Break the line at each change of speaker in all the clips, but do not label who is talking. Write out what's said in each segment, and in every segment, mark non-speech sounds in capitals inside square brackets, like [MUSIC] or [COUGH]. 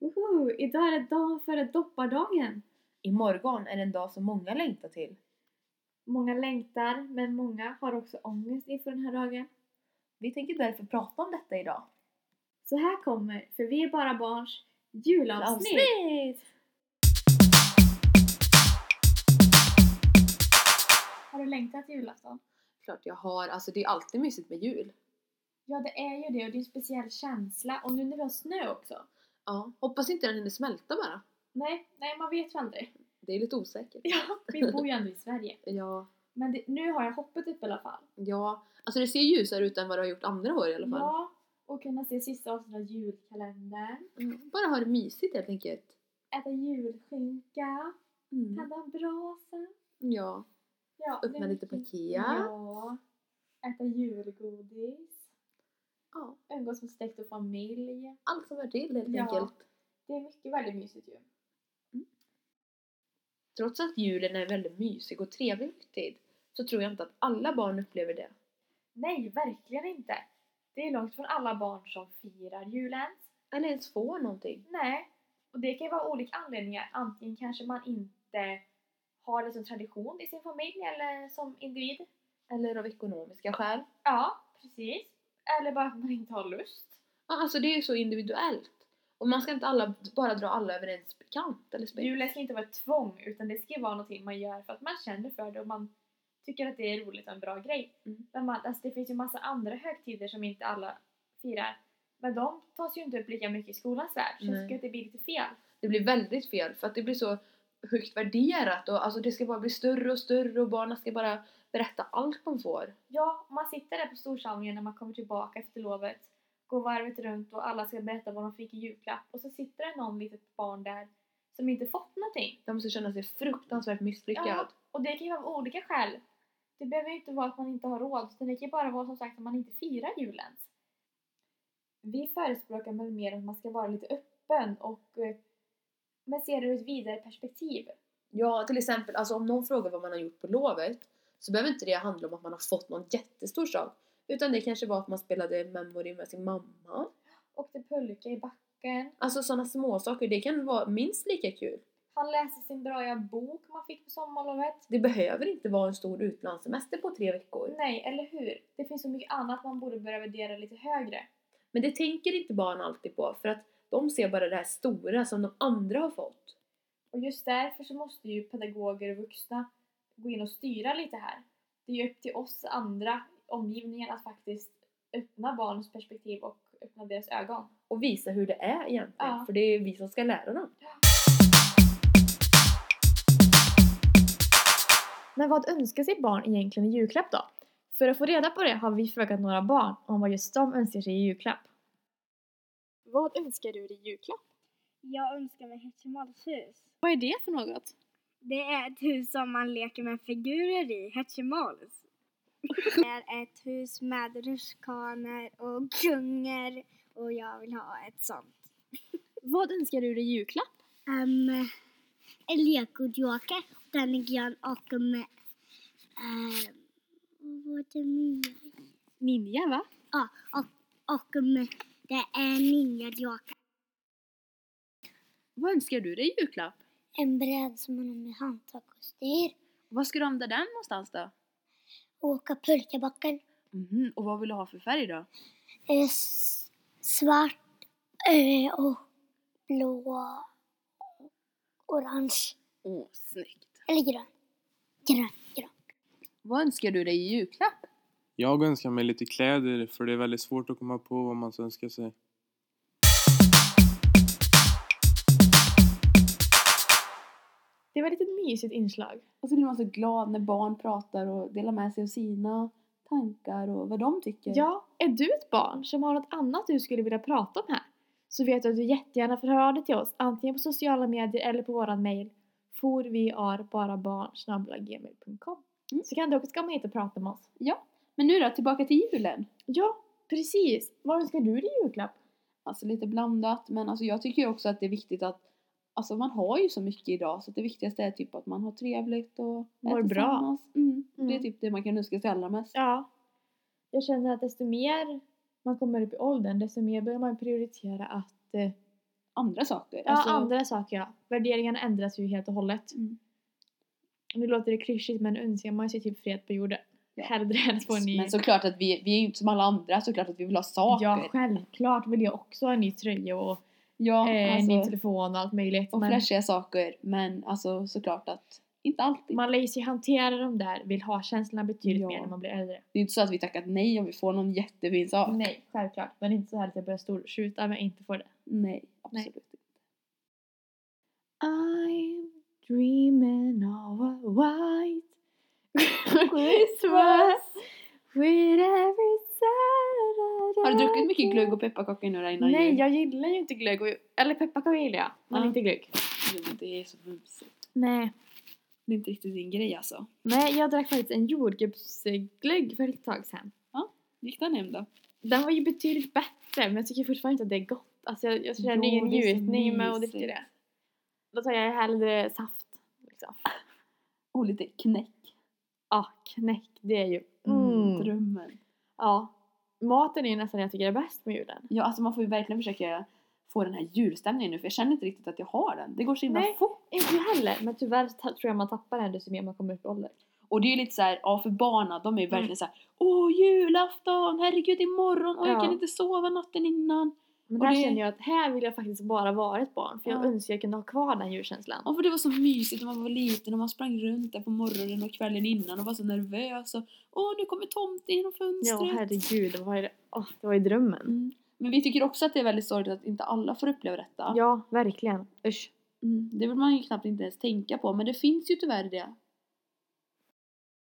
Woho! Idag är det dag före doppardagen.
Imorgon är en dag som många längtar till.
Många längtar, men många har också ångest inför den här dagen.
Vi tänker därför prata om detta idag.
Så här kommer, för vi är bara barns, julavsnitt!
Avsnitt!
Har du längtat till julafton?
Klart jag har. Alltså det är alltid mysigt med jul.
Ja, det är ju det och det är en speciell känsla. Och nu när vi har snö också.
Ja. Hoppas inte den hinner smälta bara.
Nej, nej man vet ju aldrig.
Det är lite osäkert.
Ja, vi bor ju ändå i Sverige.
Ja.
Men det, nu har jag hoppet upp i alla fall.
Ja. Alltså det ser ljusare ut än vad det har gjort andra år i alla fall.
Ja, och kunna se sista avsnittet av julkalendern.
Mm. Bara ha det mysigt helt enkelt.
Äta julskinka.
Mm.
Tända en brasa.
Ja.
Ja,
Öppna
det-
lite paket.
Ja. Äta julgodis.
Ja.
Umgås med släkt och familj.
Allt som hör till helt
Ja.
enkelt.
Det är mycket väldigt mysigt ju.
Trots att julen är en väldigt mysig och trevlig högtid så tror jag inte att alla barn upplever det.
Nej, verkligen inte. Det är långt från alla barn som firar julen.
Eller ens får någonting.
Nej, och det kan ju vara olika anledningar. Antingen kanske man inte har det som tradition i sin familj eller som individ.
Eller av ekonomiska skäl.
Ja, precis. Eller bara att man inte har lust.
Ja, alltså det är ju så individuellt. Och man ska inte alla, bara dra alla över en sp- kant eller spegel.
Julen ska inte vara ett tvång utan det ska ju vara någonting man gör för att man känner för det och man tycker att det är roligt och en bra grej.
Mm.
Men man, alltså det finns ju massa andra högtider som inte alla firar. Men de tas ju inte upp lika mycket i skolans värld så jag
Nej.
tycker att det blir lite fel.
Det blir väldigt fel för att det blir så högt värderat och alltså det ska bara bli större och större och barnen ska bara berätta allt de får.
Ja, man sitter där på storsamlingen när man kommer tillbaka efter lovet. Går varvet runt och alla ska berätta vad de fick i julklapp. Och så sitter det någon litet barn där som inte fått någonting.
De måste känna sig fruktansvärt misslyckad.
Ja, och det kan ju vara av olika skäl. Det behöver ju inte vara att man inte har råd, utan det kan ju bara vara som sagt att man inte firar julens. Vi förespråkar väl mer att man ska vara lite öppen och eh, men se det ur ett vidare perspektiv.
Ja, till exempel alltså om någon frågar vad man har gjort på lovet så behöver inte det handla om att man har fått någon jättestor sak. Utan det kanske var att man spelade Memory med sin mamma.
Åkte pulka i backen.
Alltså sådana små saker, det kan vara minst lika kul.
Han läste sin braiga bok man fick på sommarlovet.
Det behöver inte vara en stor utlandssemester på tre veckor.
Nej, eller hur? Det finns så mycket annat man borde börja värdera lite högre.
Men det tänker inte barn alltid på för att de ser bara det här stora som de andra har fått.
Och just därför så måste ju pedagoger och vuxna gå in och styra lite här. Det är ju upp till oss andra, omgivningen, att faktiskt öppna barnens perspektiv och öppna deras ögon.
Och visa hur det är egentligen,
Ja.
för det är vi som ska lära dem.
Men vad önskar sig barn egentligen i julklapp då? För att få reda på det har vi frågat några barn om vad just de önskar sig i julklapp. Vad önskar du dig i julklapp?
Jag önskar mig ett Hetchemals-hus.
Vad är det för något?
Det är ett hus som man leker med figurer i, Hetchemals. Det är ett hus med rutschkanor och gungor och jag vill ha ett sånt.
Vad önskar du dig i julklapp?
Um, en lekodjoker, den är grön och med... Ehm, vad är det mer?
Ninja va?
Ja, och, och med, det är ninjadjoker.
Vad önskar du dig i julklapp?
En bräd som man har med handtag och styr.
Var ska du använda den någonstans då?
Åka pulkabacken.
Mhm, och vad vill du ha för färg då?
Eh, s- svart eh, och blå och orange
Åh, snyggt!
eller grön. Grön, grön.
Vad önskar du dig i julklapp?
Jag önskar mig lite kläder för det är väldigt svårt att komma på vad man ska önska sig.
Det var ett litet mysigt inslag.
Och så blir man så glad när barn pratar och delar med sig av sina tankar och vad de tycker.
Ja, är du ett barn som har något annat du skulle vilja prata om här? Så vet du att du jättegärna får höra av dig till oss antingen på sociala medier eller på våran mail forviarbarabarn.gmail.com Så kan du också komma hit och prata med oss.
Men nu då, tillbaka till julen.
Ja, precis. Vad önskar du dig i julklapp?
Alltså lite blandat, men alltså jag tycker ju också att det är viktigt att Alltså man har ju så mycket idag så att det viktigaste är typ att man har trevligt och
Mår
är
bra.
tillsammans. Mm. Det är
Mm.
typ det man kan önska sig allra mest.
Ja. Jag känner att desto mer man kommer upp i åldern, desto mer börjar man prioritera att eh,
andra saker.
Ja,
Alltså,
andra saker ja. Värderingarna ändras ju helt och hållet.
Mm.
Nu låter det klyschigt men önskar man sig typ frihet på jorden.
Ja.
Hellre än att få en ny...
Men såklart att vi, vi är ju inte som alla andra, såklart att vi vill ha saker.
ja, självklart vill jag också ha en ny tröja och
Ja,
eh, en
alltså,
ny telefon och allt möjligt.
och
Men
flashiga saker. Men alltså såklart att inte alltid.
man lär ju sig hantera de där vill ha-känslorna betydligt
Ja.
mer när man blir äldre.
Det är inte så att vi tackat nej om vi får någon jättefin sak.
Nej, självklart. Men inte så här att jag börjar stortjuta om jag inte får det.
Nej, absolut inte.
I'm dreaming of a
[LAUGHS]
white Christmas with every Saturday.
Har du druckit mycket glögg och pepparkakor nu då innan
Nej,
jul?
jag gillar ju inte glögg. Och, eller pepparkakor gillar jag, men
Ja.
inte glögg.
Men Det är så mumsigt.
Nej.
Det är inte riktigt din grej alltså.
Nej, jag drack faktiskt en jordgubbsglögg för ett tag sedan.
Gick den hem då?
Den var ju betydligt bättre, men jag tycker fortfarande inte att det är gott. Alltså jag, jag känner
Jo,
ingen
det är så
njutning med att
mysigt.
dricka det. Då tar jag hellre saft. Liksom.
Och lite knäck.
Ja, knäck, det är ju... Mm.
Drömmen.
Ja. Maten är ju nästan det jag tycker är bäst med julen.
Ja, alltså man får ju verkligen försöka få den här julstämningen nu för jag känner inte riktigt att jag har den. Det går så himla
Nej.
fort.
Inte jag heller, men tyvärr ta- tror jag man tappar den desto mer man kommer upp i ålder.
Och det är ju lite så här, ja för barna, de är ju verkligen
Mm.
så här, åh julafton, herregud imorgon, åh jag
Ja.
kan inte sova natten innan.
Men
Och
här
det-
känner jag att här vill jag faktiskt bara vara ett barn för jag
Ja.
önskar jag kunde ha kvar den djurkänslan.
Ja för det var så mysigt när man var liten och man sprang runt där på morgonen och kvällen innan och var så nervös och åh nu kommer tomten genom
Ja,
fönstret.
herregud, det var ju, åh, det var ju drömmen.
mm. Men vi tycker också att det är väldigt sorgligt att inte alla får uppleva detta.
Ja, verkligen. Usch.
Mm. Det vill man ju knappt inte ens tänka på men det finns ju tyvärr det.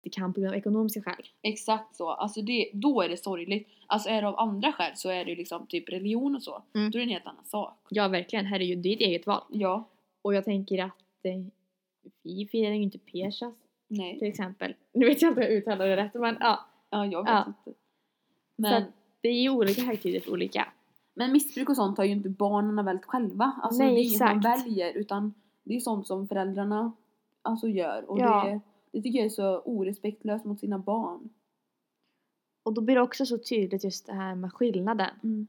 Det kan på grund av ekonomiska skäl.
Exakt så. Alltså det, då är det sorgligt. Alltså är det av andra skäl så är det ju liksom typ religion och så.
Mm.
Då är det en helt annan sak.
Ja, verkligen. Här är ju ditt eget val.
Ja.
Och jag tänker att eh, vi firar ju inte Pesas
Nej.
till exempel. Nu vet jag inte om jag uttalar det rätt men ja.
Ja, jag vet
Ja.
inte.
Så
Men,
att det är ju olika högtider för olika. men
men missbruk och sånt har ju inte barnen vält själva. Alltså
Nej,
det är inget man
exakt.
väljer utan det är sånt som föräldrarna alltså gör. Och
Ja.
det, det tycker jag är så orespektlöst mot sina barn.
Och då blir det också så tydligt just det här med skillnaden.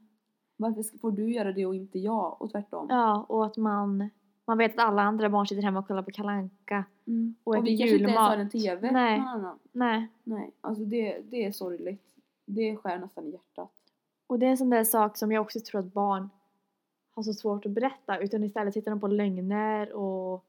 Varför ska- får du göra det och inte jag? Och tvärtom.
Mm. Ja, och att man, man vet att alla andra barn sitter hemma och kollar på kalanka.
Mm.
Och
Och,
äter
vi kanske inte ens har
julmat.
en TV.
Nej.
Någon annan.
Nej.
Nej. Alltså det, det är sorgligt. Det skär nästan i hjärtat.
Och det är en sån där sak som jag också tror att barn har så svårt att berätta utan istället sitter de på lögner och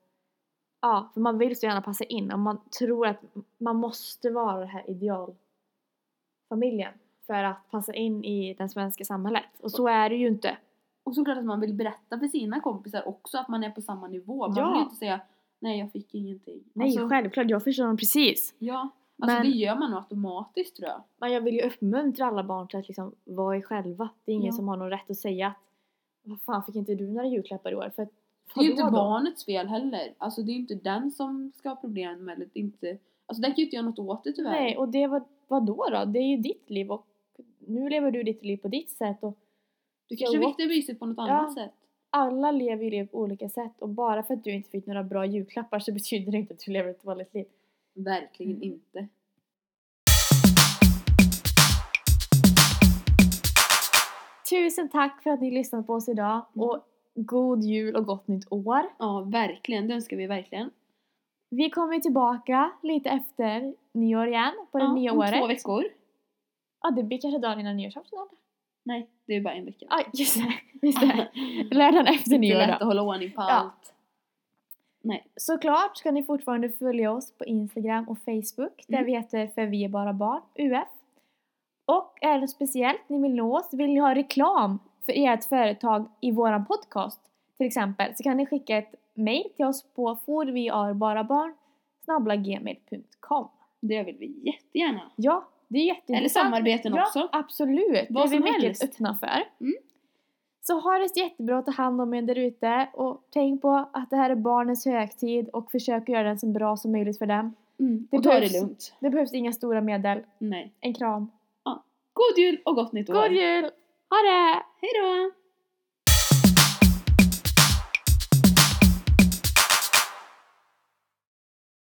ja, för man vill så gärna passa in och man tror att man måste vara den här idealfamiljen för att passa in i det svenska samhället och så är det ju inte.
Och såklart att man vill berätta för sina kompisar också att man är på samma nivå. Man
Ja.
vill ju inte säga nej jag fick ingenting.
Nej,
alltså,
självklart, jag förstår dem precis.
ja. alltså
Men-
det gör man nog automatiskt tror jag.
Men jag vill ju uppmuntra alla barn till att liksom vara er själva. Det är ingen
Ja.
som har någon rätt att säga att vad fan fick inte du några julklappar i år? För att,
Det är ju inte
vadå då?
barnets fel heller. Alltså det är ju inte den som ska ha problem med det. Inte... Alltså den kan ju inte göra något åt det tyvärr.
Nej, och det var vad då då? Det är ju ditt liv och nu lever du ditt liv på ditt sätt och
du
så-
kanske fick det mysigt på något
Ja.
annat sätt.
alla lever ju liv på olika sätt och bara för att du inte fick några bra julklappar så [LAUGHS] betyder det inte att du lever ett dåligt liv.
Verkligen
Mm.
inte.
Tusen tack för att ni lyssnade på oss idag
Mm.
och god jul och gott nytt år.
Ja verkligen, det önskar vi verkligen.
Vi kommer ju tillbaka lite efter nyår igen på det
ja,
nya
om
året.
två veckor.
Ja, det blir kanske dagen innan nyårsafton. eller?
Nej, det är bara en vecka.
Ja, Ah, just det. Just det. Lördagen efter
det är
nyår
lätt
då.
att hålla ordning på allt.
Såklart ska ni fortfarande följa oss på Instagram och Facebook där
Mm.
vi heter För vi är bara barn, UF. Och är det något speciellt ni vill nå oss, vill ni ha reklam för ert företag i våran podcast till exempel så kan ni skicka ett mail till oss på forviarbarabarn gmail.com
Det vill vi jättegärna.
Ja, det är jätteintressant.
Eller samarbeten
ja,
också.
absolut.
Vad
det är vi
som
mycket
helst.
öppna för.
Mm.
Så ha det så jättebra att ta hand om er där ute och tänk på att det här är barnens högtid och försök att göra den så bra som möjligt för dem.
Mm.
Det
Och ta
behövs.
det lugnt.
Det behövs inga stora medel.
Nej.
En kram.
God jul och gott nytt år.
God jul! Ha det!
Hej då!